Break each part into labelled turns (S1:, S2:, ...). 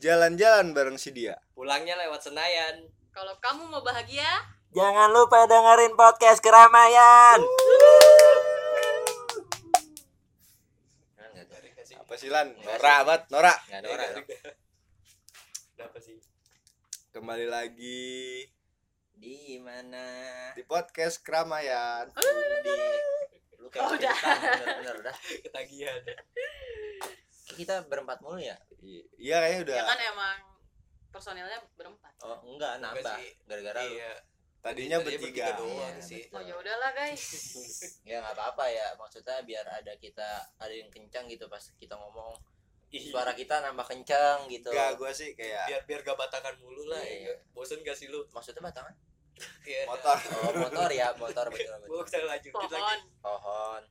S1: jalan-jalan bareng si dia.
S2: Pulangnya lewat Senayan.
S3: Kalau kamu mau bahagia,
S4: Jangan lupa dengerin podcast keramaian.
S2: Nggak ada sih.
S1: Apa sih Lan? Nora amat, Nora.
S2: Nggak ada
S1: Eh,
S2: orang. ya?
S1: nggak ada.
S2: Kenapa sih?
S1: Kembali lagi
S2: Di mana?
S1: di podcast Keramaian.
S2: Lu kayak
S3: Oh, udah.
S2: kepikiran, bener-bener udah.
S5: ketagihan
S2: Kayak Kita berempat mulu ya?
S1: I- Iya kayaknya udah.
S3: ya kan emang personilnya berempat.
S2: Oh, enggak
S5: Enggak
S2: nambah.
S5: sih.
S2: Gara-gara lu.
S5: iya
S1: Tadinya
S5: Tadinya
S1: bertiga.
S5: bertiga doang.
S2: Iya,
S5: sih.
S2: betul.
S3: Oh ya udahlah guys.
S2: ya nggak apa-apa ya maksudnya biar ada kita ada yang kencang gitu pas kita ngomong suara kita nambah kencang gitu
S1: Enggak, gua sih kayak
S5: biar biar gak batakan mulu lah
S2: Iya.
S5: ya. bosen gak sih lu
S2: maksudnya batangan
S5: Iya.
S1: motor.
S2: oh, motor ya motor betul
S5: gua
S2: betul
S5: bisa lanjutin lagi
S3: Pohon.
S2: pohon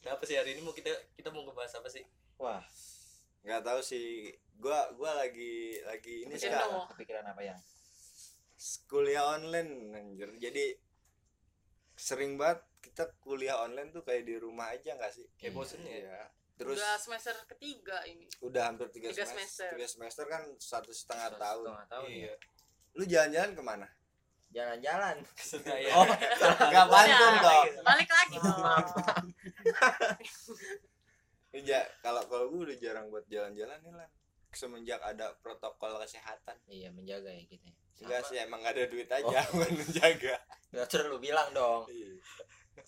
S5: kenapa sih hari ini mau kita kita mau ngebahas apa sih
S2: wah
S1: Enggak tahu sih. Gua gua lagi lagi ini
S3: Kepikiran
S1: sekarang
S3: dong.
S2: kepikiran apa yang
S1: kuliah online anjir. Jadi sering banget kita kuliah online tuh kayak di rumah aja enggak sih?
S5: kayak
S2: Iya.
S5: bosen ya
S1: Iya. Terus
S3: Udah semester ketiga ini.
S1: udah hampir tiga,
S3: Tiga
S1: semester.
S3: semester.
S1: Tiga semester kan satu setengah tahun.
S2: setengah tahun ya
S5: iya
S1: Lu jalan-jalan kemana?
S2: jalan-jalan
S5: Senayan
S1: Oh, nggak pantun
S3: Udah.
S1: dong.
S3: Balik lagi dong.
S1: Lu ja- Iya, kalau kalau gue udah jarang buat jalan-jalan nih lah. Semenjak ada protokol kesehatan.
S2: iya menjaga ya gitu ya
S1: Enggak
S2: Sama-
S1: sih emang nggak ada duit aja
S5: Oh.
S1: buat Iya, menjaga.
S2: nggak terus lu bilang dong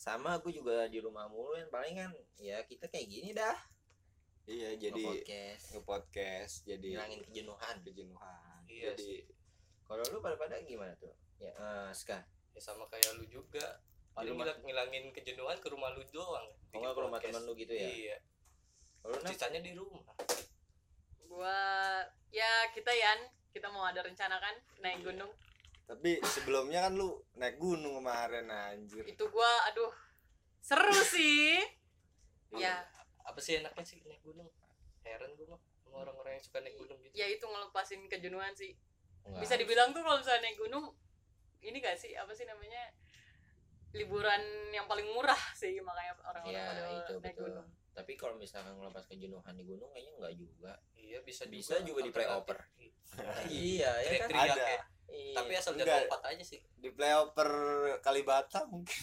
S2: sama aku juga di rumah mulu yang paling kan ya kita kayak gini dah
S1: Iya, jadi
S2: podcast
S1: ngepodcast jadi
S2: hilangin kejenuhan
S1: kejenuhan.
S5: Iya
S1: jadi
S2: kalau lu pada pada gimana tuh ya eh Ska
S5: ya sama kayak lu juga
S2: Oh,
S5: Jadi
S2: rumah-
S5: ngilang- ngilangin kejenuhan ke rumah lu doang
S2: Oh, nggak ke rumah temen lu gitu ya?
S5: iya
S2: kalau lu Nat?
S5: sisanya di rumah
S3: Gua ya kita Yan, kita mau ada rencana kan naik
S5: Iya.
S3: gunung.
S1: tapi sebelumnya kan lu naik gunung kemarin anjir.
S3: Itu gua aduh seru sih. Ya,
S5: apa sih enaknya sih naik gunung heran gua mah sama orang-orang yang suka naik gunung gitu
S3: ya itu ngelepasin kejenuhan sih.
S2: Nggak.
S3: Bisa dibilang tuh kalau misalnya naik gunung ini gak sih apa sih namanya? liburan yang paling murah sih makanya orang-orang
S2: Iya,
S3: pada
S2: itu
S3: naik
S2: betul.
S3: gunung.
S2: tapi kalau misalkan ngelepas kejenuhan di gunung kayaknya enggak juga
S5: iya bisa juga
S2: Bisa juga di
S5: alternatif.
S2: iya ya kan
S5: Teriak
S1: Ada.
S5: ya.
S2: Iya.
S5: tapi asal
S1: Enggak.
S5: jangan lompat aja sih
S1: Di playoper Kalibata mungkin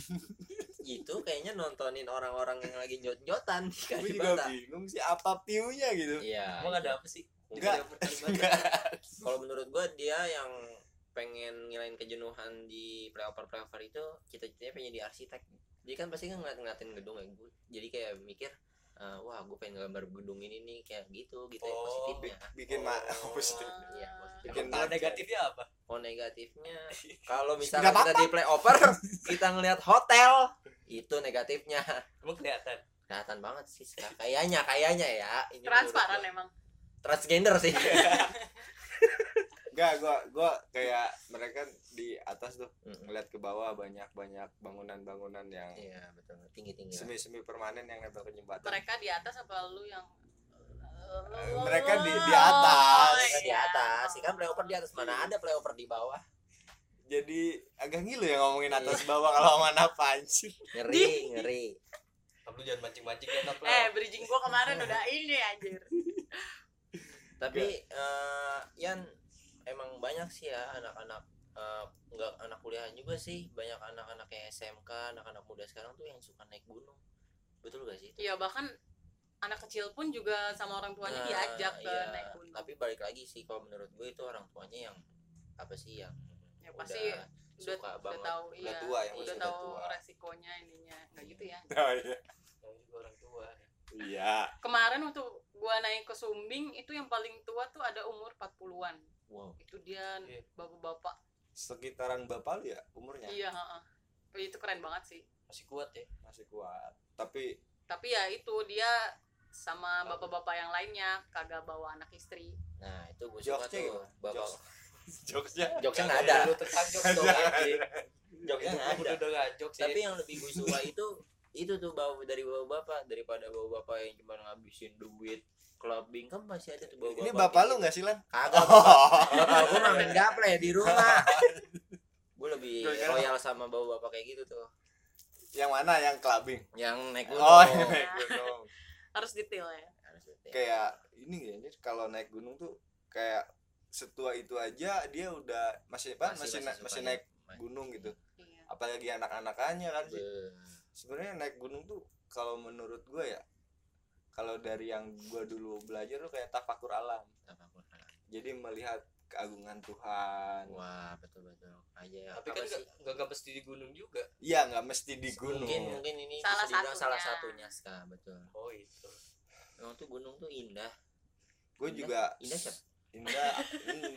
S2: itu kayaknya nontonin orang-orang yang lagi jot-jotan di
S1: gue
S2: kaki
S1: juga
S2: bata.
S1: bingung sih apa piunya gitu.
S2: iya
S5: emang
S2: iya.
S5: ada apa sih Di
S1: Enggak.
S5: video pertandingan.
S2: kalau menurut gua dia yang pengen ngilain kejenuhan di playoper playoper itu cita-citanya pengen jadi arsitek dia kan pasti kan ngeliat ngeliatin gedung ya gua jadi kayak mikir eh, wah gue pengen gambar gedung ini nih kayak gitu gitu ya
S5: Oh,
S2: positifnya
S1: Bikin mah
S5: Oh.
S3: Iya,
S2: iya
S1: Bikin
S2: positif
S5: Kalau
S1: macet.
S5: negatifnya apa?
S2: oh negatifnya kalau
S1: Nggak
S2: misalnya kita di playoper kita ngelihat hotel itu negatifnya
S5: Emang kelihatan.
S2: kelihatan banget sih Ska. kayaknya kayaknya ya ini
S3: Transparan
S2: menurut
S3: emang.
S2: gua. transgender sih
S1: Enggak, gua gua kayak mereka di atas tuh
S2: Mm-mm.
S1: ngeliat ke bawah banyak-banyak bangunan-bangunan yang
S2: iya betul tinggi tinggi
S1: semi-semi permanen yang nempel ke jembatan.
S3: mereka di atas apa lu yang
S1: Eh, Mereka di- di atas.
S3: Oh,
S2: Mereka di
S3: iya.
S2: atas, sih kan playoper di atas mana ada playoper di bawah.
S1: Jadi agak ngilu ya
S2: Iya.
S1: ngomongin atas bawah kalau mana pancing.
S2: Ngeri, ngeri.
S5: Kamu jangan mancing-mancing ya enak
S3: eh
S5: lah.
S3: bridging gua kemarin udah ini anjir
S2: Tapi eh Yan emang banyak sih ya anak-anak eh, nggak anak kuliahan juga sih, banyak anak-anak yang SMK, anak-anak muda sekarang tuh yang suka naik gunung. Betul gak sih? itu?
S3: ya bahkan anak kecil pun juga sama orang tuanya
S2: Nah,
S3: diajak ke
S2: iya.
S3: naik gunung
S2: Tapi balik lagi sih kalau menurut gue itu orang tuanya yang apa sih yang
S3: ya pasti
S2: udah
S3: udah
S2: suka
S3: udah
S2: banget.
S3: tahu
S1: Udah
S3: iya
S1: tua yang
S3: udah
S1: udah
S3: tahu
S1: tua.
S3: resikonya ininya nggak gitu ya
S1: Oh, iya.
S5: Yang juga orang tua.
S1: Iya.
S3: kemarin waktu gua naik ke Sumbing itu yang paling tua tuh ada umur 40-an
S2: Wow.
S3: itu dia
S5: Iya.
S3: bapak-bapak
S1: Sekitaran bapak lu ya umurnya
S3: iya heeh. itu keren banget sih
S5: Masih kuat ya.
S1: masih kuat. Tapi
S3: tapi ya itu dia sama bapak-bapak yang lainnya kagak bawa anak istri
S2: Nah, itu gue suka
S1: jokesnya
S2: tuh.
S1: gimana?
S2: Bapak
S1: Jokes. Jokesnya
S5: Kan
S2: jokesnya nggak ada.
S5: Lu tentang jokes dong
S1: Nggak
S5: anjing.
S2: Jokesnya nggak ada.
S5: Udah udah nggak jokes ya.
S2: tapi yang lebih gue suka itu itu tuh bawa dari bawa bapak daripada bawa bapak yang cuma ngabisin duit clubbing kan masih ada tuh bawa bapak
S1: Ini bapak lu nggak sih Lan?
S2: kagak bapak gue main gaple di rumah gue lebih
S1: Gua kira-
S2: royal sama bawa bapak kayak gitu tuh
S1: yang mana? Yang clubbing.
S2: yang naik gunung
S1: Oh, ini naik gunung.
S3: harus detail ya
S2: Harus gitu ya.
S1: Kayak ini kayaknya kalau naik gunung tuh kayak setua itu aja dia udah masih apa masih na- masih,
S2: sukanya.
S1: naik gunung gitu
S3: Iya.
S1: apalagi anak-anakannya kan sih
S2: Be-
S1: sebenarnya naik gunung tuh kalau menurut gue ya kalau dari yang gue dulu belajar tuh kayak tafakur alam
S2: apa pun.
S1: jadi melihat keagungan Tuhan
S2: Wah betul betul aja ya.
S5: tapi kan nggak nggak nggak mesti di gunung juga
S1: iya nggak mesti di gunung
S2: Mungkin mungkin ini
S3: Salah
S2: bisa dibilang salah
S3: satunya.
S2: satunya ska betul.
S5: oh itu
S2: Emang tuh gunung tuh indah.
S1: gue juga
S2: Indah siapa?
S1: indah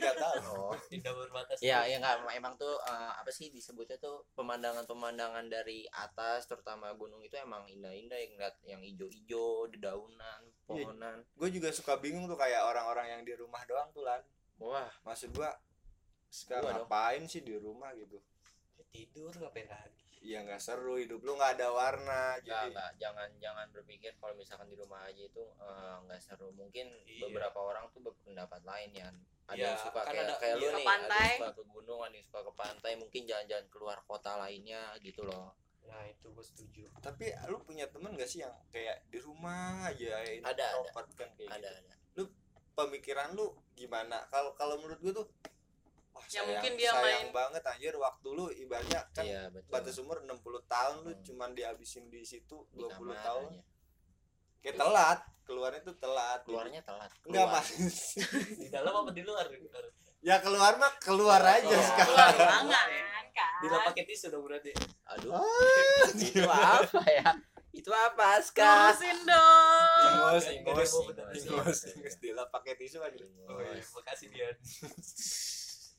S1: nggak tahu
S2: Oh.
S5: tidak berbatas
S2: Ya, ya enggak emang tuh eh, apa sih disebutnya tuh pemandangan-pemandangan dari atas terutama gunung itu emang indah-indah yang ngeliat yang ijo-ijo, dedaunan, pohonan.
S1: gue juga suka bingung tuh kayak orang-orang yang di rumah doang tuh lan
S2: Wah,
S1: maksud gue suka
S2: Gua dong.
S1: ngapain sih di rumah gitu
S5: Ya, tidur ngapain lagi
S1: ya nggak seru hidup lu nggak ada warna
S2: enggak,
S1: jadi
S2: enggak. jangan jangan berpikir kalau misalkan di rumah aja itu eh, enggak seru. Mungkin
S5: Iya.
S2: beberapa orang tuh berpendapat lain ya. Ada
S5: Iya,
S2: yang suka
S5: kan
S2: kayak
S5: ada-
S2: kayak lu
S5: iya.
S3: Ke
S2: nih, ada
S3: pantai.
S2: yang suka ke gunung, ada yang suka ke pantai, mungkin jalan-jalan keluar kota lainnya gitu loh.
S5: nah itu gue setuju
S1: tapi lu punya temen gak sih yang kayak di rumah aja ini
S2: Ada, ada.
S1: introvert kan kayak
S2: Ada
S1: gitu.
S2: ada.
S1: pemikiran lu gimana kalau kalau menurut gue tuh wah
S3: Ya,
S1: sayang,
S3: mungkin dia
S1: sayang
S3: main-
S1: banget anjir waktu lu ibaratnya kan
S2: Iya, betul.
S1: batas umur 60 tahun lu
S2: Hmm.
S1: cuman dihabisin di situ
S2: Di
S1: 20
S2: kamar
S1: tahun
S2: aja.
S1: kayak telat keluarnya tuh telat
S2: Keluarnya telat.
S1: enggak
S2: Keluar.
S1: mas
S5: di dalam apa di luar di luar
S1: ya keluar mah keluar aja
S5: Oh.
S1: sekarang
S3: Keluar ruangan kan.
S5: tidak pakai tisu dong berarti
S2: Aduh. itu apa ya? Itu apa, Aska?
S3: Lurusin dong.
S1: ingos
S5: Iya,
S1: ingos
S5: iya, iya, iya.
S1: ingos ingos Dila pakai tisu aja
S5: oh iya makasih Dian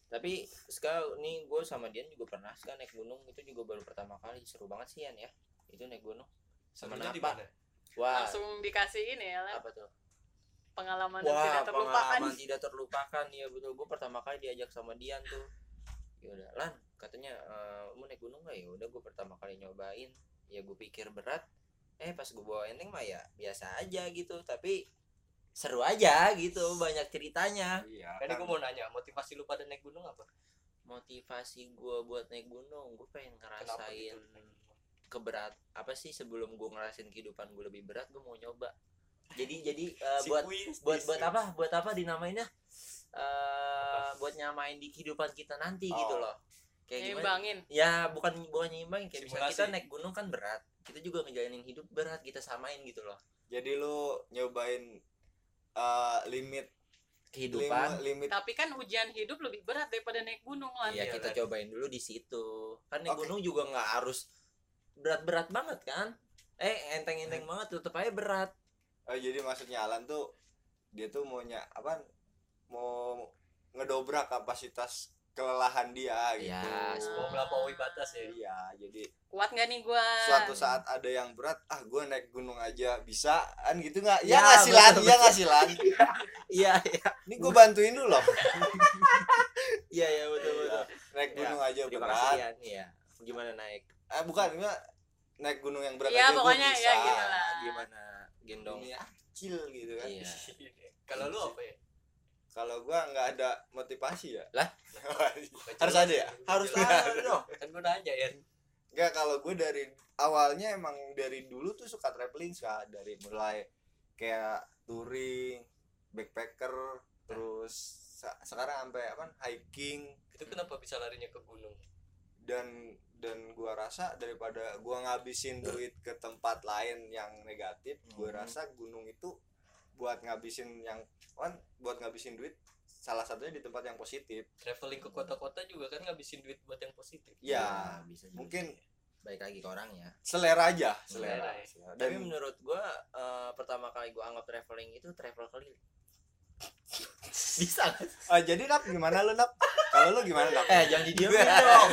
S2: Tapi Ska, nih gue sama Dian juga pernah Ska naik gunung itu juga baru pertama kali seru banget sih Yan ya. Itu naik gunung.
S5: sebenarnya di
S2: Kenapa?
S5: mana
S2: Wah,
S3: Langsung dikasih ini ya, Lan.
S2: apa tuh?
S3: pengalaman yang
S2: Wah,
S3: tidak terlupakan.
S2: pengalaman tidak terlupakan ya betul. Gue pertama kali diajak sama Dian tuh. Ya udah, Lan, katanya eh, mau naik gunung gak ya? Udah gue pertama kali nyobain. Ya gue pikir berat. Eh pas gue bawa enteng mah ya biasa aja gitu, tapi seru aja gitu, banyak ceritanya.
S1: iya
S5: kan gue mau nanya motivasi lu pada naik gunung apa
S2: Motivasi gue buat naik gunung, gue pengen
S5: kenapa gitu
S2: ngerasain keberat apa sih sebelum gue ngerasain kehidupan gue lebih berat, gue mau nyoba. Jadi jadi eh,
S5: Si
S2: buat
S5: kuis,
S2: buat
S5: tisu.
S2: buat apa buat apa dinamainnya eh buat nyamain di kehidupan kita nanti
S1: Oh.
S2: gitu loh
S5: Iya,
S2: kayak gimana
S3: Nyimbangin.
S2: ya bukan bukan nyimbangin kayak misalnya kita
S5: Simulasi.
S2: naik gunung kan berat kita juga ngejalanin hidup berat kita samain gitu loh
S1: jadi lu nyobain eh, limit
S2: kehidupan
S1: lim- limit
S3: Tapi kan ujian hidup lebih berat daripada naik gunung lah.
S2: ya kita
S5: Iyalah.
S2: cobain dulu di situ kan naik
S1: Oke.
S2: gunung juga nggak harus berat-berat banget kan eh enteng-enteng banget tetep aja berat
S1: Oh, jadi maksudnya Alan tuh dia tuh maunya apa? Mau ngedobrak kapasitas kelelahan dia gitu.
S2: Ya,
S5: mau melampaui batas ya
S1: Iya, jadi
S3: Nah. Kuat nggak nih gua?
S1: suatu saat ada yang berat, ah gue naik gunung aja bisa kan gitu nggak? Ya
S2: Ya,
S1: nggak sih Lan,
S2: betul,
S1: ya nggak sih Lan.
S2: iya iya
S1: Ini gue bantuin dulu loh.
S2: iya iya betul
S1: Iya,
S2: betul
S1: naik
S2: Ya,
S1: gunung aja
S2: terima kasih
S1: berat.
S2: Yan. Iya. gimana naik
S1: Eh bukan, enggak naik gunung yang berat
S3: Iya,
S1: aja gue
S3: pokoknya,
S1: bisa.
S3: ya, gitu
S2: Iya,
S3: lah.
S2: gimana Iya. gendong
S1: Ini acil gitu kan.
S2: Iya.
S5: Ya. kalau lu apa ya
S1: Kalau gue nggak ada motivasi ya.
S2: Lah?
S5: Gak
S1: Harus
S5: jelas
S1: ada ya?
S5: kan lu,
S2: harus
S5: gak jelas.
S2: ada dong
S5: kan gue nanya ya
S1: Enggak kalau gue dari awalnya emang dari dulu tuh suka traveling suka dari mulai kayak touring, backpacker, terus sa- sekarang sampai apa hiking
S5: itu kenapa bisa larinya ke gunung
S1: dan dan gua rasa daripada gua ngabisin duit ke tempat lain yang negatif, gua
S2: Hmm.
S1: rasa gunung itu buat ngabisin yang kan buat ngabisin duit salah satunya di tempat yang positif.
S2: Hmm.
S5: traveling ke kota-kota juga kan ngabisin duit buat yang positif
S2: Iya.
S1: Ya,
S2: bisa juga.
S1: Mungkin
S2: baik lagi ke orangnya
S1: selera aja,
S5: Selera
S1: selera.
S5: ya.
S1: selera.
S2: tapi
S1: Dan
S2: menurut gua eh, pertama kali gua anggap traveling itu travel keliling bisa nggak?
S1: ah, jadi nap gimana lu nap? Kalau lu gimana nap?
S2: eh jangan didiemin dong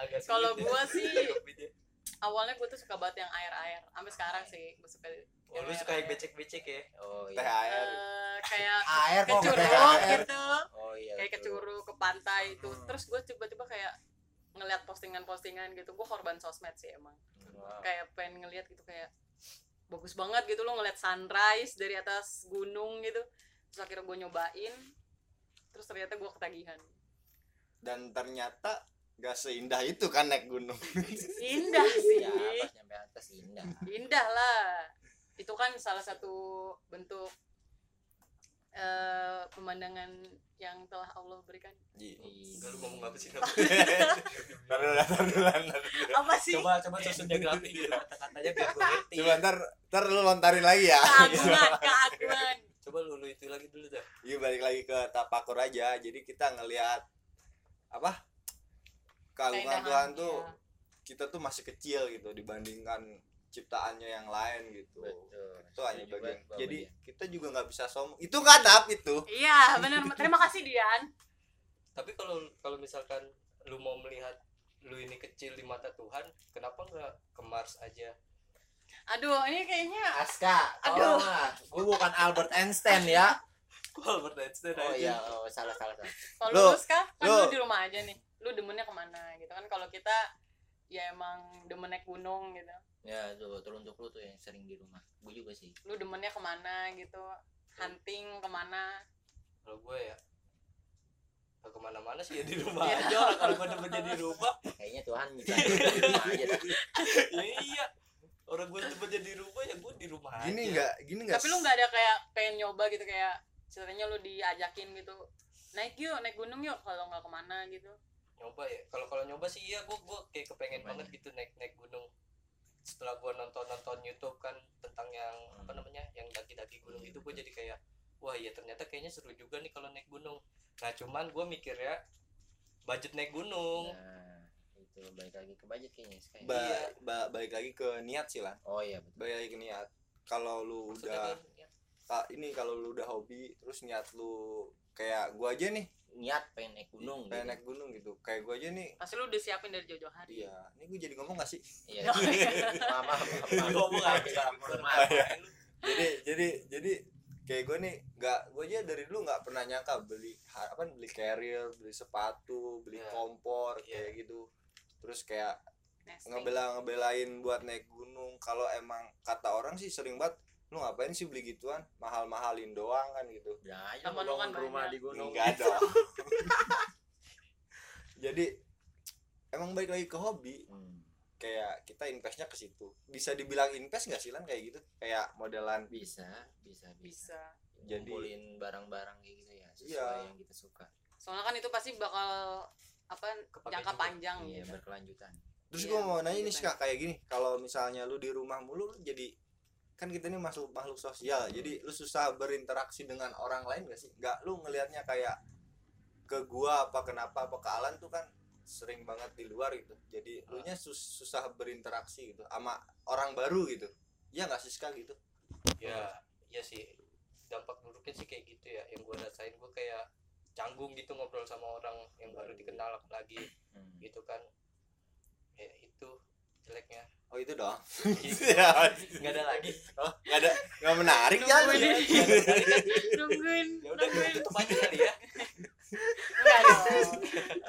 S5: agak
S3: Kalau
S5: sulit ya.
S3: gua sih
S5: Agak beda.
S3: awalnya gua tuh suka banget yang air-air. Sampai sekarang sih gua suka
S5: oh, lu suka yang becek-becek ya
S2: oh iya
S1: THR.
S3: eh, kayak
S1: air
S3: ke
S1: kok
S3: curug
S1: THR.
S3: gitu.
S2: oh iya
S3: Kayak ke
S2: betul.
S3: curug, ke pantai itu.
S1: Hmm.
S3: Terus gua tiba-tiba kayak ngeliat postingan-postingan gitu. Gua korban sosmed sih emang.
S2: Wow.
S3: Kayak pengen ngeliat gitu kayak bagus banget gitu lo ngeliat sunrise dari atas gunung gitu. Terus akhirnya gua nyobain. Terus ternyata gua ketagihan.
S1: dan ternyata gak seindah itu kan naik gunung
S3: Indah sih.
S1: Iya.
S2: ya pas nyampe atas indah
S5: Iya.
S3: indah lah itu kan salah satu bentuk eh pemandangan pemandangan yang telah Allah berikan
S5: Enggak, lu ngomong apa sih?
S1: Taruh taruh
S3: apa sih
S5: coba coba susun diagrafi
S2: Iya.
S5: gitu kata-katanya biar gue ngerti.
S1: Coba ntar ntar lu lontarin lagi ya.
S3: keagungan keagungan
S5: Coba lu lu itu lagi dulu dah.
S1: Iya balik lagi ke tapakur aja. Jadi kita ngelihat apa keagungan
S3: Keindahan,
S1: Tuhan tuh
S3: iya.
S1: kita tuh masih kecil gitu dibandingkan ciptaannya yang lain gitu.
S2: Betul.
S1: Itu hanya
S2: Setuju
S1: bagian.
S2: banget gua sama
S1: Jadi
S2: dia.
S1: kita juga nggak bisa sombong. Itu kadap itu.
S3: iya benar terima kasih Dian
S5: Tapi kalau kalau misalkan lu mau melihat lu ini kecil di mata Tuhan, kenapa nggak ke Mars aja?
S3: aduh ini kayaknya
S2: ya. Aska,
S3: Aduh.
S2: tolonglah. Gue bukan Albert Einstein ya.
S5: Gua Albert Einstein
S2: Oh
S5: aja.
S2: iya, oh, salah salah salah.
S3: kalau
S1: Lu-
S3: lulus kah kan
S1: lu-
S3: lu di rumah aja nih lu demennya kemana gitu kan kalau kita ya emang demen naik gunung gitu
S2: Ya, tuh teruntuk lu tuh yang sering di rumah. Gue juga sih.
S3: lu demennya kemana gitu hunting kemana
S5: Kalau gue ya nggak kemana-mana sih ya di rumah
S3: Iya.
S5: aja. orang. Kalau gue demennya di rumah,
S2: Kayaknya Tuhan bisa di rumah aja. dah.
S5: ya iya. Orang gue demennya di rumah ya gue di rumah
S1: Gini
S5: aja.
S1: nggak gini nggak.
S3: tapi lu nggak ada kayak pengen nyoba gitu kayak ceritanya lu diajakin gitu naik yuk naik gunung yuk kalau nggak kemana gitu
S5: nyoba ya kalau kalau nyoba sih iya gue gue kayak kepengen
S2: Nyoba
S5: banget gitu naik naik gunung setelah gue nonton nonton YouTube kan tentang yang apa namanya yang daki daki gunung
S2: Iya,
S5: itu gue jadi kayak wah iya ternyata kayaknya seru juga nih kalau naik gunung nah cuman gue mikir ya budget naik gunung
S2: Nah, itu balik lagi ke budget kayaknya sekarang.
S1: Ba-
S5: Iya.
S1: ba- balik lagi ke niat sih lah.
S2: oh iya, betul.
S1: Balik lagi ke niat. Kalau lu
S5: Maksudnya
S1: udah
S5: kan, ya,
S1: Ka- ini kalau lu udah hobi terus niat lu kayak gua aja nih
S2: Niat pengen naik gunung.
S1: pengen
S2: gitu.
S1: naik gunung gitu kayak gua aja nih
S3: pasti lu udah siapin dari jauh-jauh hari Ya.
S1: iya ini gua jadi ngomong gak sih Iya.
S2: Iya. Maaf, maaf, maaf.
S5: Ngomong apa? ya?
S2: Maaf, maaf.
S1: jadi jadi jadi kayak gua nih nggak gua aja dari dulu nggak pernah nyangka beli ha- apa beli carrier beli sepatu beli
S5: Iya.
S1: kompor
S5: Iya.
S1: kayak gitu terus kayak
S3: nesting.
S1: ngebela ngebelain buat naik gunung kalau emang kata orang sih sering banget lu ngapain sih beli gituan mahal-mahalin doang kan gitu
S2: Udah aja
S3: Temen lu kan
S2: bangun rumah
S3: banyak.
S2: di gunung.
S1: Enggak dong. Jadi emang balik lagi ke hobi
S2: Hmm.
S1: kayak kita investnya ke situ. Bisa dibilang invest nggak sih lan kayak gitu? Kayak modelan
S2: Bisa, bisa, bisa.
S3: bisa
S1: Jadi-
S2: Ngumpulin barang-barang kayak gitu ya, sesuai
S1: Iya.
S2: yang kita suka.
S3: soalnya kan itu pasti bakal apa
S5: Kepake
S3: jangka
S5: juga.
S3: panjang
S2: Iya,
S3: gitu
S2: berkelanjutan.
S1: Terus
S3: Iya,
S1: gua mau nanya nih
S3: gitu.
S1: Kak, kayak gini, kalau misalnya lu di rumah mulu lu jadi kan kita ini makhluk makhluk sosial. Jadi lu susah berinteraksi dengan orang lain gak sih? Nggak lu ngelihatnya kayak ke gua apa kenapa apa ke Alan tuh kan sering banget di luar gitu. Jadi lu nya sus- susah berinteraksi gitu sama orang baru gitu. Iya nggak sih Kak gitu?
S5: ya ya sih dampak buruknya sih kayak gitu ya yang gue rasain gue kayak canggung gitu ngobrol sama orang yang baru dikenal lagi
S2: Hmm.
S5: gitu kan ya itu jeleknya
S1: Oh itu dong.
S5: nggak ada lagi
S1: Oh, Ya, nggak ada nggak menarik ya.
S3: Nungguin.
S1: Iya.
S3: nungguin
S5: ya udah gue
S3: nungguin
S5: tutup aja kali ya
S3: enggak dong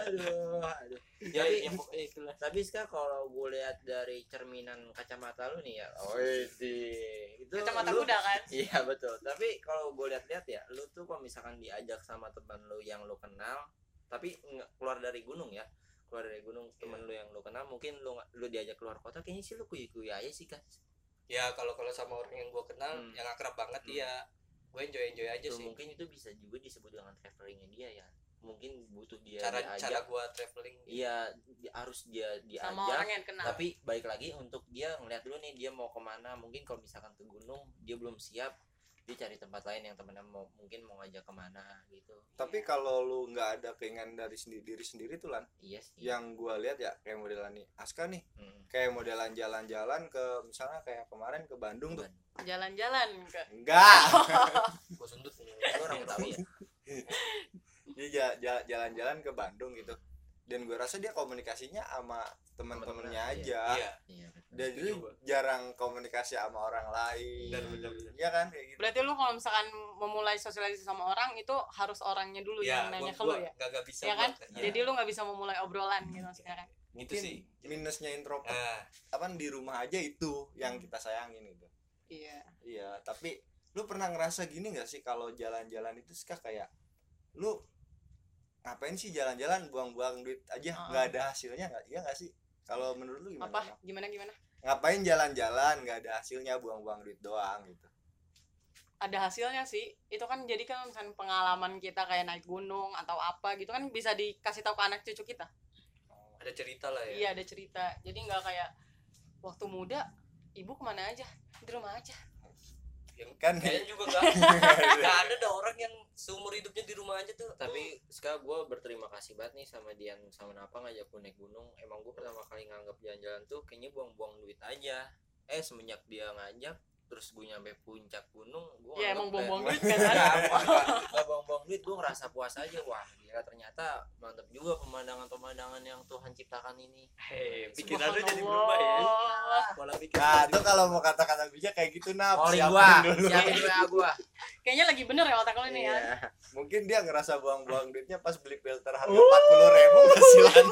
S2: Aduh, aduh.
S5: ya
S2: Tapi-
S5: yang pokoknya itulah
S2: Tapi Ska kalau gue lihat dari cerminan kacamata lu nih ya, oh itu
S3: kacamata
S2: lu-
S3: kuda kan
S2: Iya betul. Tapi kalau gue lihat-lihat ya, lu tuh kalau misalkan diajak sama teman lu yang lu kenal, tapi nggak keluar dari gunung ya, keluar dari gunung temen lu yang lu kenal, mungkin lu nggak- lu diajak keluar kota, kayaknya sih lu kuy-kuy aja sih kan.
S5: ya kalau kalau sama orang yang gue kenal
S2: Hmm.
S5: yang akrab banget
S2: Hmm.
S5: ya gue enjoy enjoy aja
S2: Tuh,
S5: Iya sih
S2: mungkin itu bisa juga disebut dengan travelingnya dia ya. Mungkin butuh dia
S5: cara
S2: ya, diajak.
S5: cara gue traveling
S2: Iya, di- harus dia diajak.
S3: sama orang yang kenal
S2: tapi baik lagi untuk dia ngeliat dulu nih dia mau kemana mungkin kalau misalkan ke gunung dia belum siap dia cari tempat lain yang temennya mau mungkin mau ngajak kemana gitu
S1: Tapi kalau lu nggak ada keinginan dari sendi- diri sendiri tuh lan,
S2: iya sih
S1: yang gua lihat ya kayak modelan nih Aska nih,
S2: Hmm.
S1: kayak modelan jalan-jalan ke misalnya kayak kemarin ke Bandung tuh.
S2: Ban-
S3: jalan-jalan ke
S1: Enggak,
S5: gue sundut Iya. nih
S2: Lu orang tahu ya
S1: dia ja- ja- jalan-jalan ke Bandung gitu. Dan gua rasa dia komunikasinya sama teman-temannya
S2: Temen-temen,
S1: aja.
S2: iya.
S5: iya
S2: iya betul.
S1: Dan
S5: Setuju
S1: dia
S5: gua.
S1: jarang komunikasi sama orang lain.
S5: benar benar benar
S1: Iya kan kayak gitu.
S3: berarti lu kalau misalkan memulai sosialisasi sama orang itu harus orangnya dulu
S5: ya
S3: yang
S5: gue
S3: nanya ke lu ya
S5: gak, gak bisa
S3: Ya kan?
S5: buat- Nah,
S1: Iya.
S3: jadi lu nggak bisa memulai obrolan gitu maksudnya kan
S5: itu sih
S1: Mungkin minusnya introvert
S5: nah
S1: apa di rumah aja itu yang
S5: Hmm.
S1: kita sayangin gitu.
S3: iya
S1: Iya, tapi lu pernah ngerasa gini gak sih kalau jalan-jalan itu suka kayak lu ngapain sih jalan-jalan buang-buang duit aja
S3: Uh-uh.
S1: nggak ada hasilnya nggak iya nggak sih kalau menurut lu gimana
S3: apa gimana gimana
S1: ngapain jalan-jalan nggak ada hasilnya buang-buang duit doang gitu
S3: ada hasilnya sih itu kan jadi kan misalnya pengalaman kita kayak naik gunung atau apa gitu kan bisa dikasih tahu ke anak cucu kita
S5: ada cerita lah
S3: iya
S5: ya
S3: ada cerita jadi nggak kayak waktu muda ibu kemana aja di rumah aja
S5: yang
S1: kan gitu.
S5: kayaknya juga gak, gak ada dah orang yang seumur hidupnya di rumah aja tuh
S2: tapi sekarang gue berterima kasih banget nih sama Dian sama Napa ngajak gue naik gunung emang gue pertama kali nganggap jalan-jalan tuh kayaknya buang-buang duit aja eh semenjak dia ngajak terus gue nyampe puncak gunung gue
S3: ya emang buang-buang duit kan
S2: nggak buang-buang duit gue ngerasa puas aja wah gila ternyata mantep juga pemandangan-pemandangan yang Tuhan ciptakan ini
S5: hei pikiran
S2: pikiran
S5: lu jadi
S3: Subhanallah.
S5: berubah ya pola pikir
S1: nah itu kalau mau kata-kata bijak kayak gitu nah
S2: Oli gua,
S1: siapin dulu
S2: siapin dulu ya gua.
S3: kayaknya lagi bener ya otak lo ini ya
S2: Iya.
S1: mungkin dia ngerasa buang-buang duitnya pas beli filter harga empat puluh ribu kasihan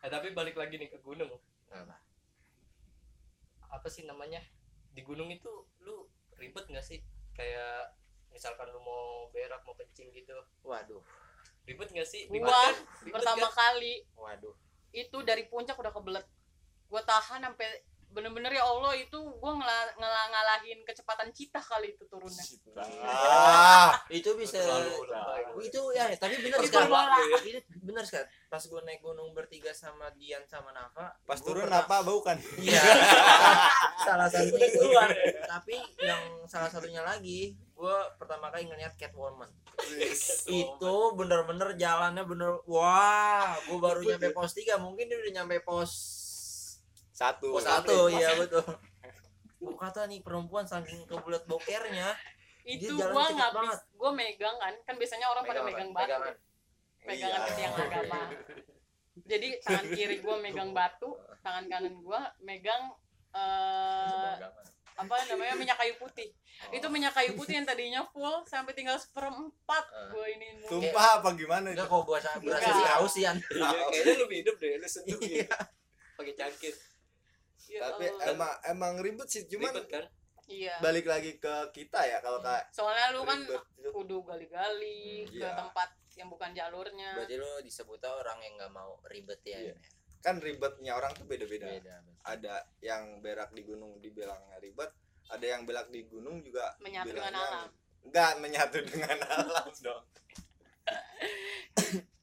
S5: Nah, tapi balik lagi nih ke gunung
S2: Apa?
S5: apa sih namanya di gunung itu lu ribet nggak sih kayak misalkan lu mau berak mau kencing gitu
S2: Waduh,
S5: ribet nggak sih di
S3: Gua
S5: badan ribet kan?
S3: pertama
S5: nggak?
S3: kali
S2: waduh.
S3: itu dari puncak udah kebelet gue tahan sampai bener-bener ya Allah itu gue ngela- ngela- ngalahin kecepatan cita kali itu turunnya
S1: ah
S2: Itu
S5: Lu
S2: bisa
S5: terlalu lebay.
S2: itu ya tapi benar
S5: Pas
S2: sekali
S3: bola.
S2: Itu benar sekali pas gue naik gunung bertiga sama Dian sama Nafa
S1: pas
S2: gua
S1: turun
S2: pernah-
S1: apa bau kan
S2: iya salah satunya itu tapi yang salah satunya lagi gue pertama kali ngeliat Catwoman
S5: Iya, gitu.
S2: itu bener-bener jalannya bener wah gue baru nyampe pos tiga mungkin dia udah nyampe pos
S1: satu
S2: pos satu ya betul Gua kata nih perempuan saking kebulet bokernya
S3: itu gue
S2: jalan cepet
S3: nggak
S2: banget.
S3: gue megang kan kan biasanya orang pada megang Iya. batu
S2: pegangan.
S3: pegangan ke tiang agama jadi tangan kiri gue megang batu tangan kanan gue megang eh
S2: Pegangan.
S3: apa namanya minyak kayu putih
S2: Oh.
S3: itu minyak kayu putih yang tadinya full sampai tinggal seperempat
S2: Eh.
S3: gue ini
S1: tumpah apa gimana itu
S2: Enggak kok gua sa- berhasil
S3: Enggak.
S2: haus Yan.
S5: Iya, kayaknya lu hidup deh lu sentuh
S2: Iya.
S5: gitu pakai cangkir
S3: Ya
S1: tapi
S3: Allah.
S1: emang emang ribet sih cuman
S5: ribet kan
S3: iya
S1: balik lagi ke kita ya kalau kayak
S3: soalnya lu kan
S1: ribet itu.
S3: kudu gali-gali
S1: Hmm,
S3: ke
S1: iya.
S3: tempat yang bukan jalurnya
S2: Berarti lu disebut orang yang nggak mau ribet ya.
S1: Iya. kan ribetnya orang tuh beda-beda
S2: Beda.
S1: ada yang berak di gunung dibilangnya ribet ada yang berak di gunung juga
S3: menyatu dengan
S1: bilangnya-
S3: alam
S1: enggak menyatu dengan alam dong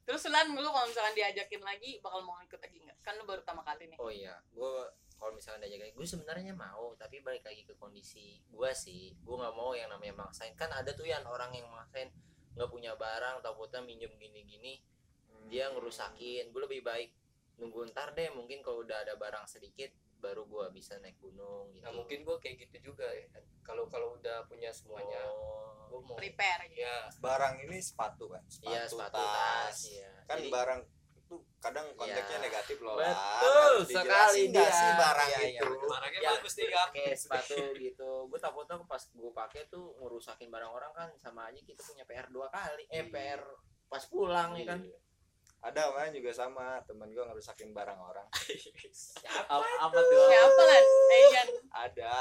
S3: terus Lan lu kalau misalkan diajakin lagi bakal mau ikut lagi nggak kan lu baru pertama kali nih
S2: Oh iya, gua kalau misalnya ada jaga, gue sebenarnya mau, tapi balik lagi ke kondisi gua sih. Gua nggak mau yang namanya maksain. Kan ada tuh yang orang yang maksain nggak punya barang, takutnya minjem gini-gini, dia ngerusakin. Gue lebih baik nunggu ntar deh, mungkin kalau udah ada barang sedikit baru gua bisa naik gunung gitu.
S5: nah mungkin gua kayak gitu juga ya kalau kalau udah punya semuanya
S2: Oh.
S5: gua mau
S3: prepare gitu.
S5: ya
S1: barang ini sepatu kan
S2: Iya, sepatu tas, iya.
S1: kan
S2: Jadi-
S1: barang itu kadang konteksnya
S2: Iya.
S1: negatif loh
S2: Betul
S1: Harus dijelasin
S2: sekali
S1: nggak
S2: dia.
S1: sih barang
S2: Iya, iya,
S1: itu
S2: betul.
S5: barangnya
S2: Ya.
S5: bagus nih kak
S2: pakai sepatu gitu gue takutnya pas gue pakai tuh ngerusakin barang orang kan sama aja kita punya PR dua kali eh
S1: Iya.
S2: PR pas pulang ya kan
S1: Iya. ada orang juga sama temen gue ngerusakin barang orang
S2: siapa
S5: apa, apa tuh
S3: siapa Lan? Eh Ian,
S1: ada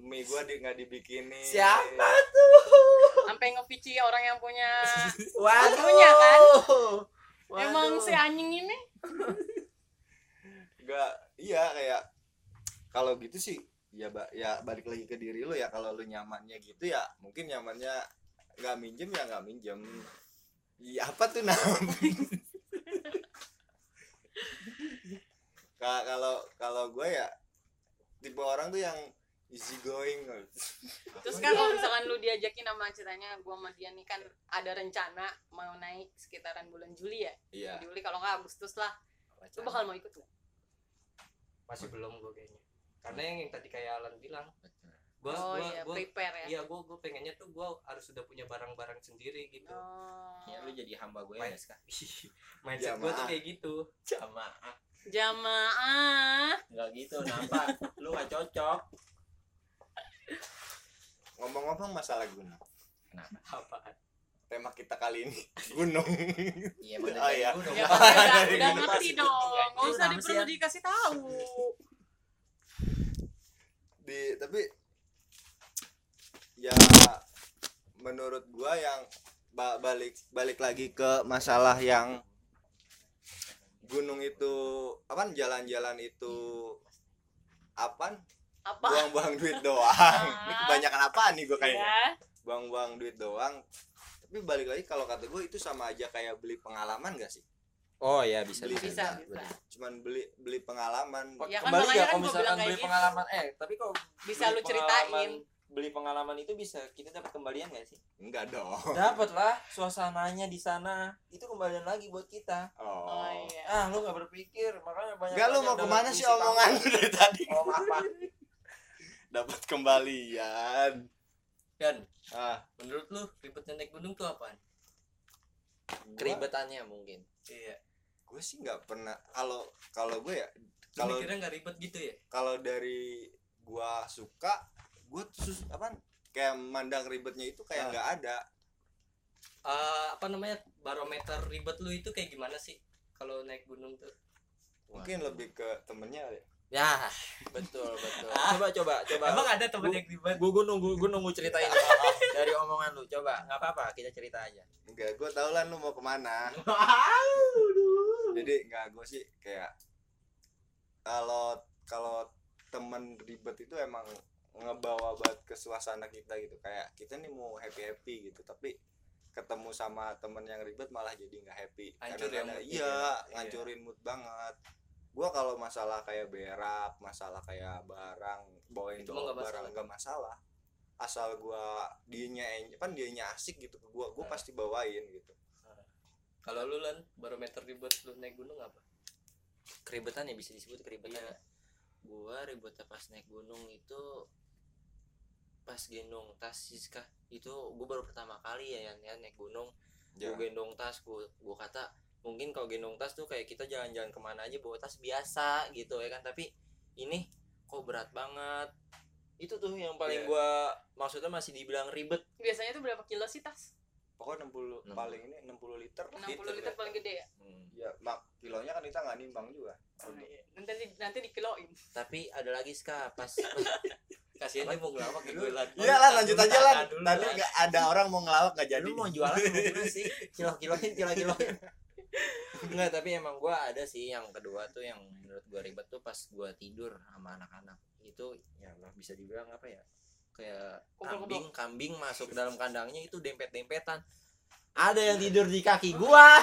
S1: mie gue di, nggak dibikinin
S2: Siapa
S3: sampai ngevici orang yang punya
S2: waduh
S3: Punya kan?
S2: Waduh.
S3: emang si anjing ini
S1: nggak iya kayak kalau gitu sih ya ba- ya balik lagi ke diri lu ya kalau lu nyamannya gitu ya mungkin nyamannya nggak minjem ya nggak minjem Iya apa tuh nam Ka- kalau kalau gue ya tipe orang tuh yang easy going
S3: terus kan kalau misalkan lu diajakin sama ceritanya gua sama dia nih kan ada rencana mau naik sekitaran bulan Juli ya
S1: iya
S3: Juli kalau nggak Agustus lah lu bakal mau ikut nggak?
S5: masih belum gua kayaknya karena yang, yang tadi kayak Alan bilang
S2: Betul.
S5: gua
S3: oh
S5: gua,
S3: iya
S5: gua
S3: prepare ya
S5: Iya, gue gue pengennya tuh gue harus sudah punya barang-barang sendiri gitu.
S3: Oh.
S2: ya lu jadi hamba gue
S5: Main.
S2: ya Ska?
S5: Mindset gue tuh kayak gitu.
S2: sama
S3: jamaah
S2: nggak gitu nampak lu nggak cocok
S1: ngomong-ngomong masalah gunung
S5: Apaan?
S1: tema kita kali ini gunung
S2: iya
S1: Oh,
S2: bener.
S1: iya.
S2: Gua udah
S3: ya
S2: mau-
S3: kan udah,
S1: Dari
S3: udah
S1: depan
S3: ngerti
S5: situ.
S3: dong nggak
S2: Itu
S3: usah
S2: nama
S3: perlu
S2: siapa?
S3: dikasih tahu
S1: di tapi ya menurut gua yang ba- balik balik lagi ke masalah yang gunung itu apa jalan-jalan itu apa
S3: apa
S1: buang-buang duit doang ini kebanyakan apaan nih gue kayaknya
S3: ya
S1: buang-buang duit doang tapi balik lagi kalau kata gue itu sama aja kayak beli pengalaman gak sih
S2: oh ya bisa
S1: Beli,
S3: bisa
S1: bisa.
S3: bisa
S1: cuman beli beli pengalaman
S3: Ya kan,
S2: kembali
S3: makanya
S2: ya
S3: kan gua bilang
S2: kalau misalkan
S3: kayak
S2: beli
S3: gitu.
S2: pengalaman eh tapi kalau
S3: bisa
S2: beli
S3: lu ceritain
S2: pengalaman- beli pengalaman itu bisa kita dapat kembalian gak sih
S1: enggak dong
S2: dapat lah suasananya di sana itu kembalian lagi buat kita
S1: oh,
S3: oh iya
S2: ah lu gak berpikir makanya banyak
S1: enggak Oh. lu
S2: banyak
S1: mau
S2: dalam
S1: kemana
S2: isi
S1: sih omongan
S2: kamu.
S1: lu dari tadi
S2: oh apa
S1: dapat kembalian
S2: dan
S1: ah
S2: menurut lu ribetnya naik gunung tuh apaan
S1: gue
S2: keribetannya mungkin
S5: iya
S1: gue sih nggak pernah kalau kalau gue ya
S5: kalau
S1: kalau
S5: kira nggak ribet gitu ya
S1: kalau dari gua suka gua tuh sus apa kayak mandang ribetnya itu kayak nggak ada
S5: Eh, apa namanya barometer ribet lu itu kayak gimana sih kalau naik gunung tuh
S1: mungkin lebih ke temennya kali ya.
S2: ya betul betul coba coba coba
S5: emang ada temen yang ribet
S2: gue gue nunggu gue nunggu ceritain dari omongan lu coba nggak apa-apa kita cerita aja
S1: enggak gua tau lah lu mau kemana jadi nggak gua sih kayak kalau kalau temen ribet itu emang ngebawa banget ke suasana kita gitu kayak kita nih mau happy happy gitu tapi ketemu sama temen yang ribet malah jadi nggak happy
S5: Hancur ya
S1: Kadang-kadang-
S5: moodnya
S1: iya
S5: ya.
S1: ngancurin mood banget gua kalau masalah kayak berak masalah kayak barang bawain
S5: Itu mah
S1: bawa
S5: nggak
S1: barang
S5: masalah.
S1: nggak masalah asal gua dianya en- kan dianya asik gitu ke gua gua
S5: Nah.
S1: pasti bawain gitu
S5: kalau lu lan barometer ribet lu naik gunung apa
S2: keribetan ya bisa disebut keribetan
S5: Iya.
S2: ya gua ribetnya pas naik gunung itu pas gendong tas Siska itu gua baru pertama kali ya yang naik gunung
S1: Ya.
S2: gua gendong tas gua, gua kata mungkin kalau gendong tas tuh kayak kita jalan-jalan kemana aja bawa tas biasa gitu ya kan tapi ini kok berat banget itu tuh yang
S1: Iya.
S2: paling gua maksudnya masih dibilang ribet
S3: biasanya tuh berapa kilo sih tas
S1: pokoknya 60
S2: 60.
S1: paling ini 60 liter
S3: 60
S1: lah.
S3: liter,
S1: ya.
S3: paling gede ya
S2: Hmm.
S1: ya mak kilonya kan kita nggak nimbang juga
S3: Iya. nanti di, nanti dikiloin
S2: tapi ada lagi Ska pas
S5: kasihan dia mau ngelawak ke gue lan
S1: Iya lah lanjut aja lah.
S5: Tahan dulu,
S1: Tadi
S5: Lan.
S1: nggak ada orang mau ngelawak nggak jadi.
S2: lu mau jualan apa dulu sih kilo kiloin kilo kiloin Enggak, tapi emang gua ada sih yang kedua tuh yang menurut gua ribet tuh pas gua tidur sama anak-anak itu ya Allah, bisa dibilang apa ya kayak
S3: Kumpul-kumpul.
S2: kambing kambing masuk ke dalam kandangnya itu dempet dempetan ada
S3: Iya.
S2: yang tidur di kaki
S3: Oh.
S2: gua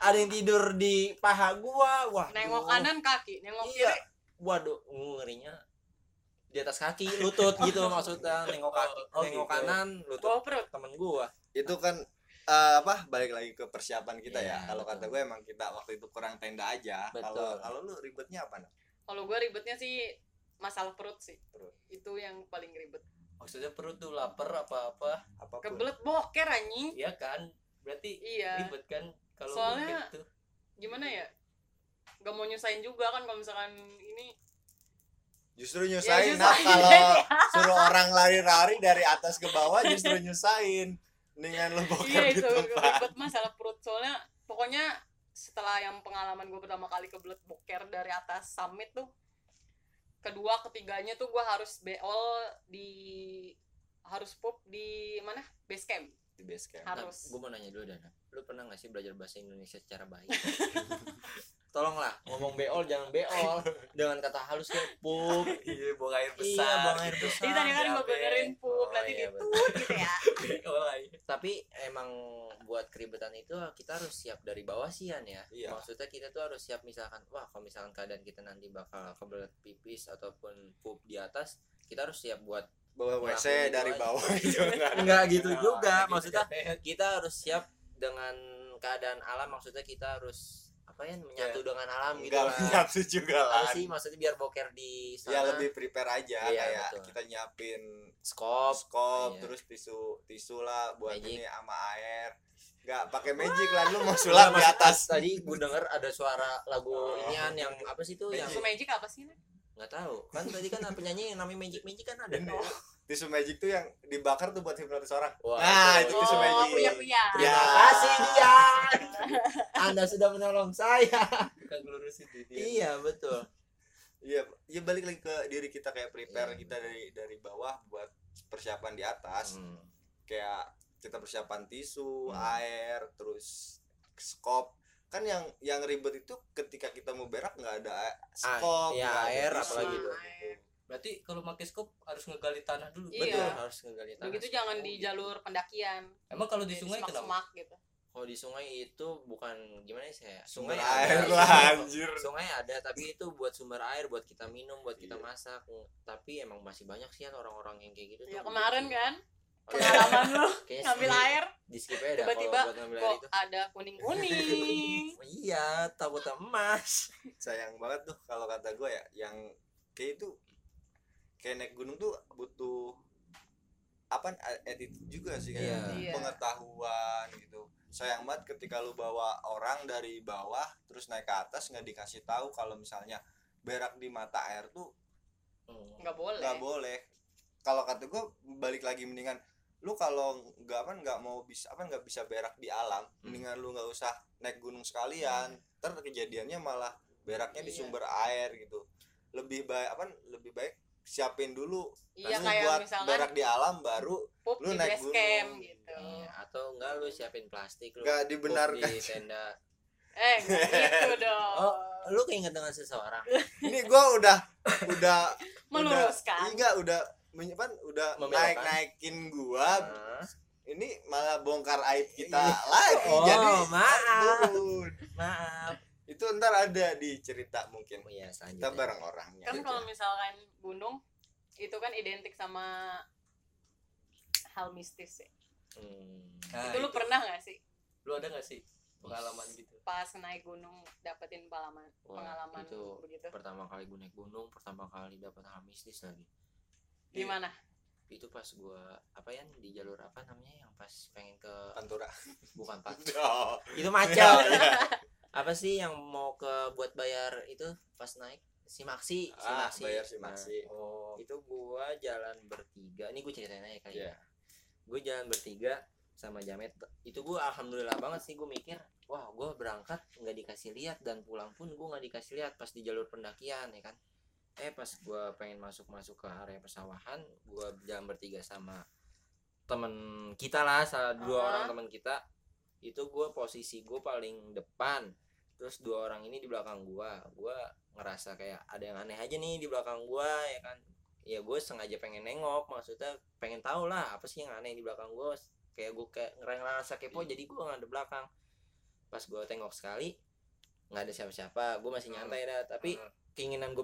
S2: ada yang tidur di paha gua wah
S3: nengok kanan kaki nengok
S2: Iya.
S3: kiri
S2: waduh ngerinya di atas kaki lutut gitu maksudnya nengok kaki
S5: Oh, oh
S2: nengok
S5: gitu.
S2: kanan lutut
S3: bawa perut
S2: temen gua
S1: Itu kan eh, apa balik lagi ke persiapan kita ya.
S2: Iya,
S1: Kalau kata
S2: betul.
S1: gue emang kita waktu itu kurang tenda aja.
S2: Betul.
S1: Kalau kalau lu ribetnya apa? Nak?
S3: kalau gue ribetnya sih masalah perut sih
S1: Perut.
S3: itu yang paling ribet
S5: maksudnya perut tuh lapar apa apa
S1: Apapun.
S3: kebelet boker anjing
S5: ya kan berarti
S3: iya
S5: ribet kan kalau ribet
S3: Soalnya-
S5: tuh
S3: gimana ya gak mau nyusahin juga kan kalau misalkan ini
S1: Justru nyusahin
S3: Ya,
S1: Nak,
S3: nyusahin.
S1: kalau suruh orang lari-lari dari atas ke bawah justru nyusahin. Dengan lu boker
S3: iya
S1: di
S3: itu
S1: tempat.
S3: ribet masalah perut soalnya pokoknya setelah yang pengalaman gue pertama kali kebelet boker dari atas summit tuh kedua ketiganya tuh gue harus beol di harus pup di mana base camp
S1: Di base camp.
S3: harus
S2: gue mau nanya dulu Dana lu pernah gak sih belajar bahasa Indonesia secara baik tolonglah ngomong beol jangan beol dengan kata halus kayak pup
S5: iya buang air
S2: iya buang air
S5: gitu.
S3: jadi
S2: besar
S3: tadi kan gue
S5: capek.
S3: benerin pup
S2: Oh,
S3: nanti
S2: iya,
S3: ditut gitu ya
S5: Oh, iya.
S2: tapi emang buat keribetan itu kita harus siap dari bawah sian ya
S1: Iya.
S2: maksudnya kita tuh harus siap misalkan wah kalau misalkan keadaan kita nanti bakal kebelet pipis ataupun pup di atas kita harus siap buat
S1: Bawa
S2: Ngelakuin
S1: WC
S2: itu
S1: dari
S2: aja.
S1: bawah itu. Nak.
S2: Nah, enggak gitu
S5: Nah,
S2: juga
S5: gitu
S2: maksudnya
S5: capek.
S2: kita harus siap dengan keadaan alam maksudnya kita harus apa ya menyatu dengan alam gitu
S1: Iya. Enggak
S2: lah.
S1: menyatu juga
S2: Apa
S1: lah.
S2: sih maksudnya biar boker di sana
S1: ya lebih prepare aja
S2: Iya,
S1: kayak
S2: betul.
S1: kita nyiapin
S2: skop
S1: skop
S2: Iya.
S1: terus tisu tisu lah buat
S2: Magic.
S1: ini sama air nggak pakai magic lah lu mau sulap di atas
S2: Iya,
S1: Oh.
S2: tadi gue denger ada suara lagu inian yang apa sih tuh yang
S3: Su magic apa sih Nak?
S2: nggak tahu kan tadi kan penyanyi yang namanya Magic Magic kan ada
S1: Ini, tisu magic tuh yang dibakar tuh buat hipnotis orang
S2: Wah,
S1: Nah, itu tisu
S3: oh
S1: magic.
S3: kuya kuya
S1: Ya.
S2: terima kasih Dian Anda sudah menolong saya
S5: bukan ngelurusin ini
S2: iya betul
S1: iya ya balik lagi ke diri kita kayak prepare
S2: Iya,
S1: kita dari dari bawah buat persiapan di atas
S2: Hmm.
S1: kayak kita persiapan tisu
S2: Hmm.
S1: air terus skop kan yang yang ribet itu ketika kita mau berak nggak ada eh, skop
S2: iya,
S1: nggak ada
S2: air,
S1: tisu.
S2: apalagi tuh.
S3: Air.
S5: berarti kalau pakai scope harus ngegali tanah dulu
S3: Iya.
S2: betul harus ngegali tanah
S3: Udah gitu jangan di jalur pendakian.
S5: emang kalau di
S3: Di
S5: sungai kenapa
S3: Iya, semak-semak gitu.
S2: kalau di sungai itu bukan gimana sih ya
S1: Sumber
S2: sungai
S1: air
S2: ada,
S1: lah,
S2: sungai-
S1: anjir.
S2: sungai ada tapi itu buat sumber air buat kita minum buat kita
S1: Iya.
S2: masak tapi emang masih banyak sih kan orang-orang yang kayak gitu
S3: Ya
S2: tuh.
S3: kemarin kan
S2: Orang-
S3: pengalaman lu
S2: kayaknya
S3: ngambil
S2: sih
S3: air
S2: di skip aja dah
S3: tiba-tiba
S2: kalau buat ngambil air
S3: kok
S2: iya. itu
S3: ada kuning-kuning.
S2: Oh iya tabut emas
S1: sayang banget tuh kalau kata gue ya yang kayak itu kayak naik gunung tuh butuh apa attitude juga sih kayak
S3: Iya.
S1: pengetahuan gitu sayang banget ketika lu bawa orang dari bawah terus naik ke atas nggak dikasih tahu kalau misalnya berak di mata air tuh
S2: Hmm.
S3: Enggak boleh.
S1: nggak boleh kalau kata gue balik lagi mendingan lu kalau nggak apa nggak mau bisa apa nggak bisa berak di alam
S2: Hmm.
S1: mendingan lu nggak usah naik gunung sekalian ter kejadiannya malah beraknya di
S3: Iya.
S1: sumber air gitu lebih baik apa lebih baik siapin dulu Lu
S3: Iya kayak
S1: buat
S3: misalkan
S1: berak di alam baru
S3: pup
S1: lu
S3: di
S1: naik
S3: base
S1: gunung.
S3: camp gitu.
S2: Iya, atau enggak lu siapin plastik lu
S1: nggak
S2: pup
S1: dibenarkan
S2: di tenda
S3: Eh, enggak gitu dong.
S2: Oh, lu keinget dengan seseorang
S1: ini gue udah udah
S3: Kan.
S1: udah,
S3: Meluruskan.
S1: enggak udah menyepan udah
S2: Membelokkan. Iya.
S1: naik naikin gua
S2: Hah?
S1: ini malah bongkar aib kita lagi
S2: Oh,
S1: jadi
S2: maaf.
S1: aduh.
S2: maaf
S1: itu ntar ada di cerita mungkin
S2: oh iya
S1: kita
S2: selanjutnya
S1: bareng orangnya
S3: Kan kalau misalkan gunung itu kan identik sama hal mistis ya.
S2: Hmm.
S5: Nah,
S3: itu lu pernah gak sih
S5: lu ada gak sih pengalaman gitu
S3: pas naik gunung dapetin pengalaman
S2: Wah,
S3: pengalaman
S2: itu-
S3: begitu
S2: pertama kali gue naik gunung pertama kali dapat hal mistis lagi
S3: gimana
S2: itu pas gua apa ya di jalur apa namanya yang pas pengen ke
S1: pantura
S2: bukan pak
S1: Oh,
S2: itu macam
S1: Iya.
S2: apa sih yang mau ke buat bayar itu pas naik si maksi si
S1: ah
S2: Maksi.
S1: bayar si
S2: Nah,
S1: maksi
S5: oh
S2: itu gua jalan bertiga ini gue ceritain aja kali
S1: Iya.
S2: ya gue jalan bertiga sama jamet itu gua alhamdulillah banget sih gue mikir wah gua berangkat nggak dikasih lihat dan pulang pun gua nggak dikasih lihat pas di jalur pendakian ya kan eh pas gua pengen masuk masuk ke area persawahan gua jalan bertiga sama temen kita lah salah dua
S3: Aha.
S2: orang temen kita itu gua posisi gue paling depan terus dua orang ini di belakang gua gua ngerasa kayak ada yang aneh aja nih di belakang gua ya kan ya gue sengaja pengen nengok maksudnya pengen tahu lah apa sih yang aneh di belakang gue kayak gue kayak ngerasa kepo jadi gue nggak ada belakang pas gue tengok sekali nggak ada siapa-siapa gue masih
S5: Hmm.
S2: nyantai dah tapi
S5: Hmm,
S2: keinginan gue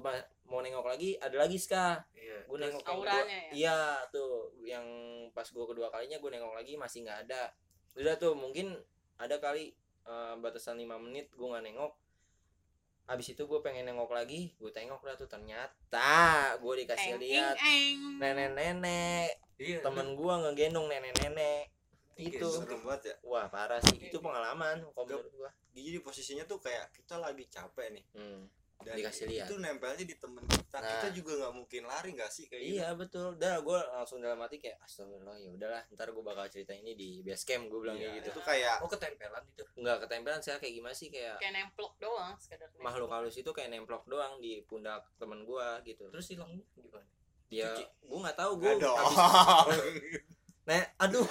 S2: mau nengok lagi ada lagi ska
S5: iya
S2: gue
S5: Terus,
S2: nengok yang kedua-
S3: auranya ya
S2: iya tuh yang pas gue kedua kalinya gue nengok lagi masih nggak ada udah tuh mungkin ada kali eh, batasan lima menit gue nggak nengok abis itu gue pengen nengok lagi gue tengok dah tuh ternyata gue
S3: eng
S2: dikasih lihat
S3: eng eng
S2: Nah. nenek-nenek
S5: iya
S2: temen gua ngegendong nenek-nenek
S1: itu
S2: itu
S1: serem banget ya
S2: wah parah sih itu pengalaman kalau menurut gua
S1: jadi posisinya tuh kayak kita lagi capek nih
S2: Hmm.
S1: dan
S2: Dikasih lihat.
S1: itu nempelnya di temen kita
S2: Nah.
S1: kita juga nggak mungkin lari nggak sih kayak gitu?
S2: iya betul udah gua langsung dalam hati kayak astagfirullah ya udahlah ntar gua bakal cerita ini di base camp gua bilang
S1: gitu.
S2: kayak gitu
S1: itu kayak
S5: oh ketempelan itu
S1: iya.
S2: nggak ketempelan saya kayak gimana sih kayak
S3: kayak nemplok doang sekedar nemplok.
S2: makhluk halus itu kayak nemplok doang di pundak temen gua gitu terus
S5: terus hilangnya gimana
S2: dia
S1: cuci.
S2: gua nggak tahu gua
S1: Nggak dong.
S2: habis- Nek, aduh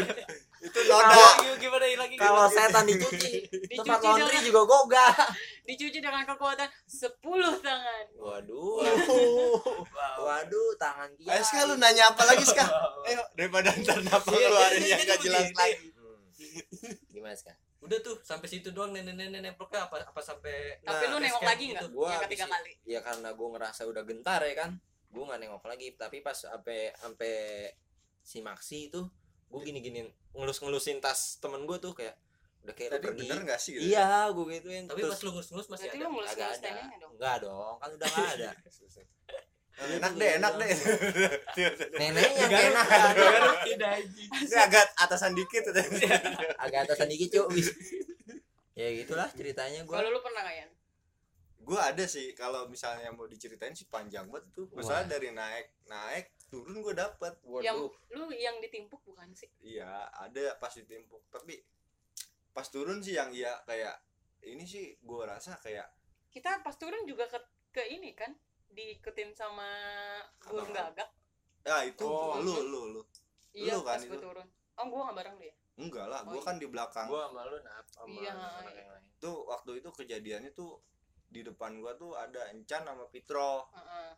S1: itu noda
S5: Iya, gimana hilangnya gitu?
S2: kalau setan dicuci
S3: dicuci
S2: tempat laundry
S3: dengan
S2: juga gogah
S3: dicuci dengan kekuatan 10 tangan
S2: waduh waduh tangan dia
S1: Ayo Ska lu nanya apa lagi Ska?
S5: Eh,
S1: Ayo daripada ntar napa
S5: Iya,
S1: ngeluarin
S5: iya,
S1: yang
S5: iya,
S1: gak
S5: iya,
S1: jelas
S5: iya.
S1: lagi
S2: Hmm. gimana sekarang
S5: udah tuh sampai situ doang nenek nenek nemploknya apa apa sampai gitu.
S3: tapi
S2: Nah,
S3: lu nengok
S5: basecamp
S3: lagi nggak
S2: gua
S3: yang ketiga
S2: habis-
S3: kali
S2: ya karena gue ngerasa udah gentar ya kan gue nggak nengok lagi tapi pas sampai sampai si Maxi itu gue gini giniin ngelus ngelusin tas temen gue tuh kayak udah kayak lu
S1: Tadi
S2: pergi
S1: bener gak sih? gitu?
S2: iya gue gituin
S5: tapi pas
S2: terus
S5: lu ngurus-ngurus masih
S3: berarti
S5: ada
S3: lu mulus
S2: agak
S3: mulus
S2: ada
S3: tandanya dong
S2: enggak dong kan udah nggak ada
S1: Nah, Enak deh, enak deh
S2: neneknya yang
S1: Enggak,
S2: enak
S1: iya.
S5: tidak
S1: Ini agak atasan dikit gitu.
S2: agak atasan dikit cuy Wis. ya gitulah ceritanya gue
S3: kalau lu pernah nggak Yan?
S1: Gue ada sih, kalau misalnya mau diceritain sih panjang banget tuh Masalah dari naik, naik, turun gue dapet
S3: yang lu yang ditimpuk bukan sih
S1: Iya, ada pas ditimpuk. Tapi pas turun sih yang iya kayak ini sih gua rasa kayak
S3: kita pas turun juga ke ke ini kan diikutin sama burung
S1: Apaan?
S3: gagak
S1: ya itu
S5: Oh.
S1: lu lu lu.
S3: iya
S1: Lu kan
S3: pas gue
S1: itu.
S3: turun oh gue nggak bareng lu ya
S1: Enggak lah, gua
S5: iya.
S3: Oh,
S1: kan di belakang.
S2: gue sama lu nap sama
S3: Iya,
S2: anak-anak
S3: iya.
S2: yang lain
S1: Tuh waktu itu kejadiannya tuh di depan gua tuh ada Encan sama Pitro.
S3: Heeh.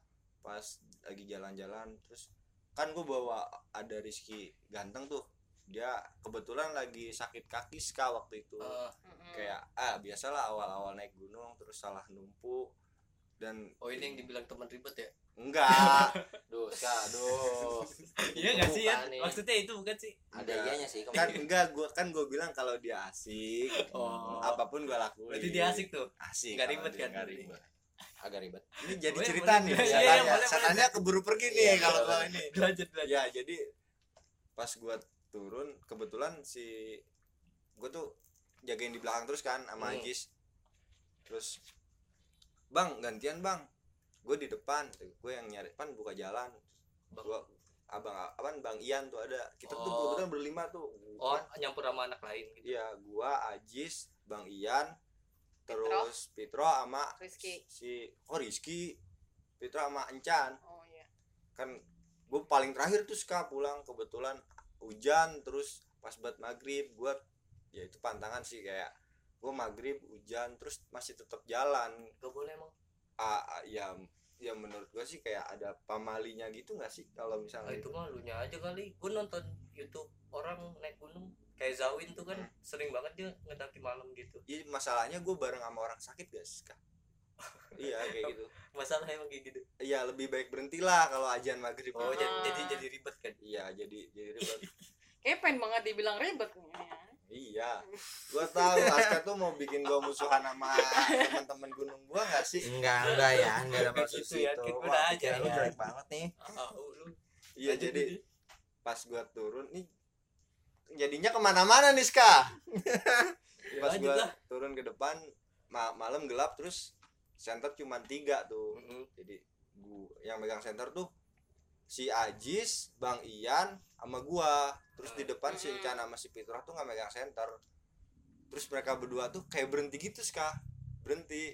S1: pas lagi jalan-jalan terus kan gue bawa ada Rizky ganteng tuh dia kebetulan lagi sakit kaki ska waktu itu
S5: Eh,
S3: Mm-mm.
S1: kayak ah biasalah awal-awal naik gunung terus salah numpu dan
S5: oh ini yang dibilang teman ribet ya
S1: enggak
S2: Duh, ska, duh.
S6: Iya nggak sih ya?
S2: Bukan, nih.
S6: Maksudnya itu bukan sih?
S2: Ada
S1: Enggak.
S2: ianya sih
S1: kan
S2: kemarin.
S1: enggak gua kan gue bilang kalau dia asik
S6: Oh.
S1: apapun gue lakuin
S5: iya.
S6: Berarti dia asik tuh.
S1: asik
S6: Nggak
S1: kalau
S6: ribet
S1: dia
S6: kan?
S1: nggak ribet
S2: Agak ribet.
S1: ini jadi
S6: Boleh,
S1: cerita
S6: boleh.
S1: nih
S6: Iya, iya,
S1: katanya
S6: boleh, boleh.
S1: katanya keburu pergi nih
S2: Iya,
S1: Eh, kalau
S2: boleh,
S1: kalau ini
S6: Lanjut lanjut.
S1: ya jadi pas gua turun kebetulan si gue tuh jagain di belakang terus kan sama
S2: Hmm.
S1: Ajis terus bang gantian bang gue di depan gue yang nyari pan buka jalan
S5: Bang.
S1: gua abang abang bang Ian tuh ada kita tuh
S5: Oh.
S1: kebetulan berlima tuh
S5: oh nyampur sama anak lain gitu
S1: Iya, gua Ajis, Bang Ian,
S3: Pitro.
S1: terus Pitro sama
S3: Rizky.
S1: si oh Rizky, Pitro sama Encan.
S3: oh iya
S1: Kan gua paling terakhir tuh suka pulang kebetulan hujan terus pas buat maghrib gua ya itu pantangan sih kayak gua maghrib hujan terus masih tetap jalan
S5: gak boleh emang
S1: Ah, ah, ya ya menurut gua sih kayak ada pamalinya gitu nggak sih kalau
S5: Ah,
S1: misalnya
S5: itu mah lu nya aja kali gue nonton YouTube orang naik gunung kayak Zawin tuh kan sering banget dia ngedaki malam gitu
S1: Iya, masalahnya gua bareng sama orang sakit guys iya kayak gitu
S5: masalah emang kayak gitu
S1: Iya lebih baik berhentilah kalau ajian maghrib
S5: oh
S1: gitu.
S5: jadi
S3: Ah.
S5: jadi jadi ribet kan
S1: Iya jadi jadi ribet.
S3: kayak pengen banget dibilang ribet kayaknya.
S1: iya. Gua tahu Aska tuh mau bikin gua musuhan sama teman-teman gunung gua gak sih?
S2: Enggak, enggak ya, enggak ada maksud
S6: Gitu ya,
S2: itu.
S6: kita
S2: Wah,
S6: aja
S2: pikiran lu
S6: ya.
S2: jelek banget nih.
S5: ah, ah, oh, lu
S1: Iya
S5: Lanjut,
S1: jadi
S5: lanjut.
S1: pas gua turun nih jadinya kemana-mana nih Ska.
S5: Ya,
S1: Pas
S5: lanjut
S1: gua
S5: lah.
S1: turun ke depan ma- malam gelap terus center cuma tiga tuh.
S5: Mm-mm.
S1: Jadi gua yang megang center tuh si Ajis, Bang Ian, sama gua. Terus di depan si
S3: Hmm.
S1: Incan sama si Fitra tuh nggak megang center. Terus mereka berdua tuh kayak berhenti gitu ska berhenti.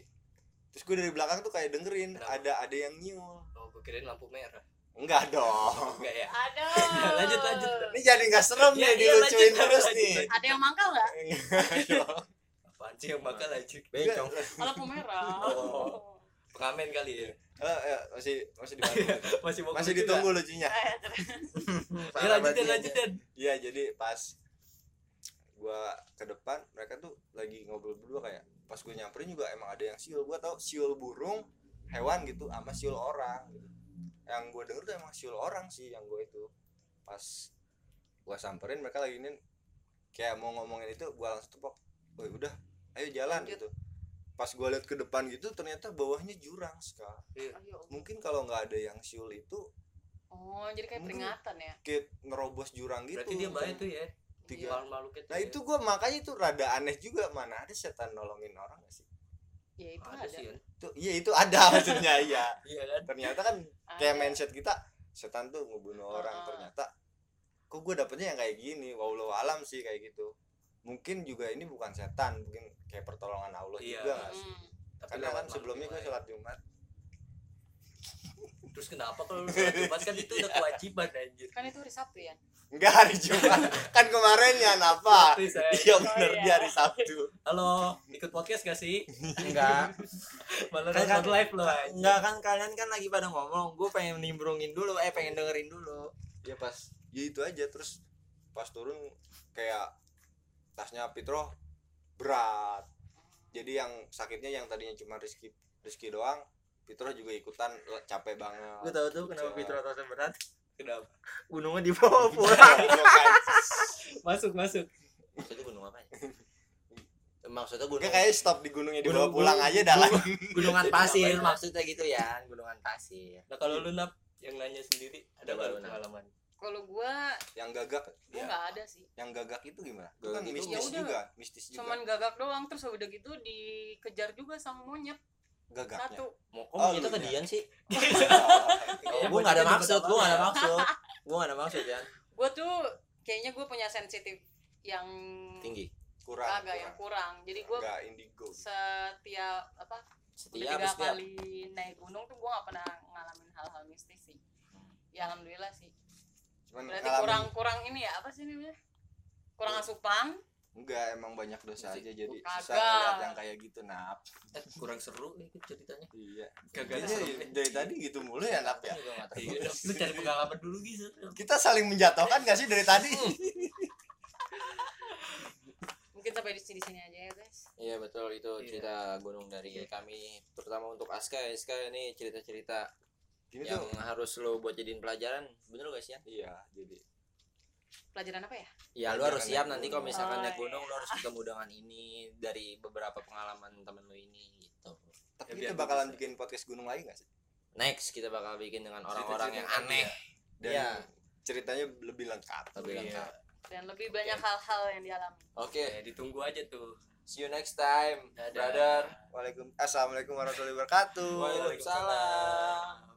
S1: Terus gue dari belakang tuh kayak dengerin
S5: Kenapa?
S1: ada ada yang nyul.
S5: oh gue kirain lampu merah
S1: Enggak dong.
S5: enggak ya
S3: ada
S5: Lanjut, lanjut.
S1: Ini jadi nggak serem
S5: Iya,
S1: nih
S5: iya, lanjut,
S1: dilucuin
S5: lanjut,
S1: terus
S5: lanjut,
S1: nih.
S5: lanjut.
S3: ada yang mangkal nggak
S1: Enggak dong.
S5: apaan sih yang bakal aja
S2: Bencong.
S3: lampu merah
S5: Oh. pengamen kali ya
S1: Eh, eh, masih masih dibantu.
S5: masih mau
S1: masih
S5: gitu nggak?
S1: ditunggu lucunya.
S3: Eh, terus.
S5: ya lanjut deh lanjut deh
S1: Iya jadi pas gua ke depan mereka tuh lagi ngobrol berdua kayak pas gue nyamperin juga emang ada yang siul gua tau siul burung hewan gitu sama siul orang gitu. yang gue denger tuh emang siul orang sih yang gue itu pas gua samperin mereka lagi ini kayak mau ngomongin itu gua langsung tepok "Woi, udah ayo jalan
S3: Lanjut.
S1: gitu pas gua lihat ke depan gitu ternyata bawahnya jurang sekarang
S3: Ayo.
S1: mungkin kalau nggak ada yang siul itu
S3: oh jadi kayak
S1: Mungkin-
S3: peringatan ya Iya.
S1: kayak nerobos jurang gitu
S5: berarti dia bayar tuh ya
S1: Tiga.
S5: malu malu gitu
S1: Nah
S5: ya.
S1: itu gua makanya itu rada aneh juga mana ada setan nolongin orang gak sih?
S3: ya itu
S5: ada
S3: ada,
S5: sih ya.
S1: Itu iya itu ada maksudnya iya.
S5: iya kan
S1: Ternyata kan
S3: Ada.
S1: kayak mindset kita setan tuh ngebunuh orang
S3: Ah.
S1: ternyata kok gue dapetnya yang kayak gini wallahu alam sih kayak gitu mungkin juga ini bukan setan mungkin kayak pertolongan Allah
S5: Iya.
S1: juga nggak sih?
S3: Hmm. Iya.
S5: Tapi
S1: karena
S5: lewat
S1: kan
S5: makhluk
S1: sebelumnya gue
S5: lain.
S1: sholat jumat
S5: terus kenapa kalau lu sholat jumat kan itu udah kewajiban anjir
S3: kan itu hari Sabtu ya
S1: enggak hari jumat kan kemarin ya apa
S5: Terus saya,
S1: iya bener
S3: iya.
S1: di hari sabtu
S5: halo ikut podcast gak sih
S2: Enggak.
S5: malah
S2: Kan-
S5: nonton
S2: kan-
S5: live loh anjir.
S2: Enggak kan kalian kan lagi pada ngomong, gue pengen nimbrungin dulu, eh pengen dengerin dulu.
S1: ya pas ya itu aja terus pas turun kayak tasnya Pitro berat jadi yang sakitnya yang tadinya cuma Rizky Rizky doang Pitro juga ikutan le- capek banget
S2: Gue tahu tuh kenapa Fitro terasa berat,
S5: kenapa
S2: gunungnya dibawa
S1: Iya
S2: pulang.
S1: kan?
S5: masuk masuk
S2: Maksudnya gunung apa ya? Maksudnya gunung
S1: Oke kayaknya stop di gunungnya dibawa
S2: Gunung-
S1: pulang aja dah lah
S2: gunungan
S5: Jadi
S2: pasir
S5: ngapain, Mas?
S2: maksudnya gitu ya, gunungan pasir.
S5: nah kalau lu nap yang nanya sendiri ada
S2: Coba
S5: baru
S2: lu, Nap.
S5: pengalaman
S3: kalau gua
S1: yang gagak
S3: gua
S5: Iya.
S3: nggak ada sih
S1: yang gagak itu gimana itu
S2: Gagak
S1: kan
S2: itu
S1: mistis
S3: yaudah.
S1: juga mistis juga
S3: ya cuman gagak doang terus udah gitu dikejar juga sama monyet
S1: gagaknya
S3: satu
S2: Mau
S1: Oh,
S2: oh, itu
S1: lu
S2: ke
S1: ya.
S2: Dian sih?
S5: Iya,
S2: gue gak ada
S5: maksudnya
S2: maksud,
S5: juga
S2: gue gak ada
S5: apa-apa.
S2: maksud. Gue gak ya. ada maksud ya.
S3: gua tuh kayaknya gua punya sensitif yang
S2: Tinggi.
S1: kurang
S3: kagak yang kurang jadi gua
S1: gagak indigo
S3: setiap apa udah
S2: Setia
S3: tiga
S2: apa setia?
S3: kali naik gunung tuh gua nggak pernah ngalamin hal-hal mistis sih ya alhamdulillah sih
S1: cuman
S3: berarti kurang kurang ini ya apa sih namanya kurang asupan
S1: enggak emang banyak dosa aja jadi susah
S3: Kagak.
S1: ngeliat yang kayak gitu nap
S2: Eh, kurang seru nih ceritanya
S1: iya
S6: Kagak
S1: Kayaknya
S6: seru.
S1: dari tadi gitu mulu ya nap ya
S2: Gua nggak tahu.
S6: Iya.
S2: lu cari pengalaman dulu gitu
S1: kita saling menjatuhkan gak sih dari tadi
S3: Mungkin sampai di sini sini aja ya guys.
S2: iya betul itu
S6: Iya.
S2: cerita gunung dari kami terutama untuk Aska Aska ini cerita-cerita
S1: gini
S2: yang
S1: tuh
S2: harus lo buat jadiin pelajaran bener gak sih ya
S1: iya jadi
S3: Pelajaran apa ya?
S2: ya lo
S1: Pelajaran
S2: harus siap
S1: naik
S2: nanti kalau
S1: gunung.
S2: misalkan
S3: Oh,
S2: naik gunung
S3: iya.
S2: lo harus ketemu dengan ini dari beberapa pengalaman temen lo ini gitu
S1: tapi
S6: Ya, biar
S1: kita
S6: bagus,
S1: bakalan
S6: ya.
S1: bikin podcast gunung lagi gak sih
S2: next kita bakal bikin dengan
S6: Cerita-cerita
S2: orang-orang yang
S6: yang
S2: aneh
S1: dan
S2: Iya.
S1: ceritanya lebih lengkap
S2: Lebih
S6: Iya.
S2: lengkap.
S3: Dan lebih banyak hal-hal yang dialami.
S2: oke
S5: Eh,
S6: Ya, ditunggu aja tuh.
S2: see you next time
S6: Dadah.
S2: brother
S1: Waalaikum Assalamualaikum warahmatullahi wabarakatuh
S2: Waalaikumsalam.